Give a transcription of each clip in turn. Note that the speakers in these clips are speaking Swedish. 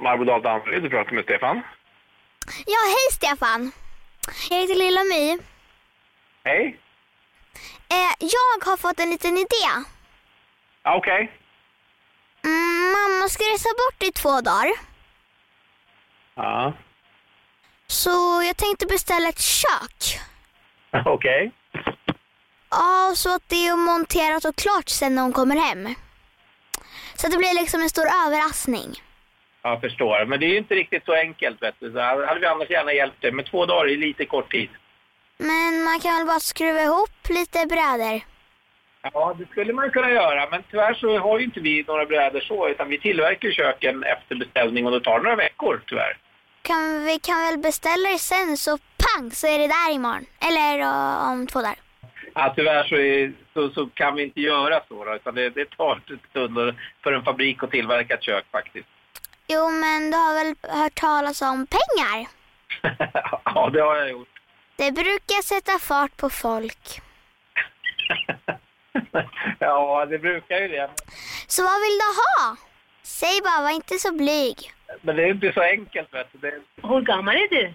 Barbro Dahl Danderyd, du pratar med Stefan. Ja, hej Stefan. Jag heter Lilla My. Hej. Eh, jag har fått en liten idé. Ja, Okej. Mm, mamma ska resa bort i två dagar. Ja. Så jag tänkte beställa ett kök. Okej. Ja, så att det är monterat och klart sen när hon kommer hem. Så det blir liksom en stor överraskning. Jag förstår. Men det är ju inte riktigt så enkelt. Vet du. Så här hade vi annars gärna hjälpt dig. Men två dagar är lite kort tid. Men man kan väl bara skruva ihop lite brädor. Ja, det skulle man kunna göra. Men tyvärr så har ju inte vi några brädor så. Utan vi tillverkar ju köken efter beställning och det tar några veckor tyvärr. Kan, vi kan väl beställa det sen så pang så är det där imorgon. Eller eh, om två dagar. Ja, tyvärr så, är, så, så kan vi inte göra så. Då, utan det, det tar en stund för en fabrik att tillverka ett kök faktiskt. Jo, men du har väl hört talas om pengar? ja, det har jag gjort. Det brukar sätta fart på folk. ja, det brukar ju det. Så vad vill du ha? Säg bara, var inte så blyg. Men det är inte så enkelt. Vet du. Det, Hur gammal är du?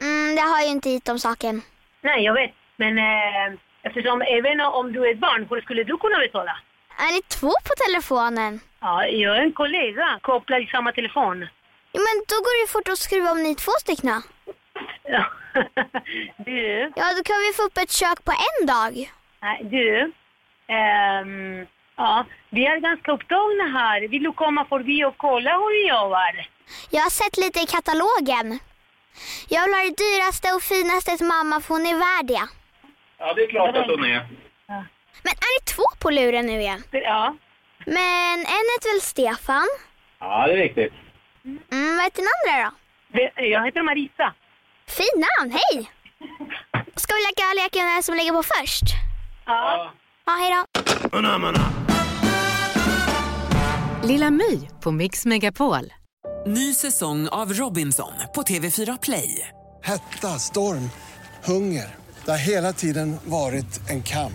Mm, det har ju inte hit om saken. Nej, jag vet. Men eh, eftersom även om du är ett barn, hur skulle du kunna betala? Är ni två på telefonen? Ja, jag är en kollega kopplad i samma telefon. Ja, men då går det ju fort att skruva om ni är två stycken. Ja. du, Ja, då kan vi få upp ett kök på en dag. nej, du. Ehm, ja, vi är ganska upptagna här. Vill du komma förbi och kolla hur vi jobbar? Jag har sett lite i katalogen. Jag vill ha det dyraste och finaste till mamma för hon är värd det. ja, det är klart att hon är. Men är ni två på luren nu igen? Ja. Men en heter väl Stefan? Ja, det är riktigt. Mm, vad heter den andra då? Vi- Jag heter Marisa. Fint namn, hej! Ska vi leka leken vem som lägger på först? Ja. Ja, hej då. Lilla My på Mix Megapol. Ny säsong av Robinson på TV4 Play. Hetta, storm, hunger. Det har hela tiden varit en kamp.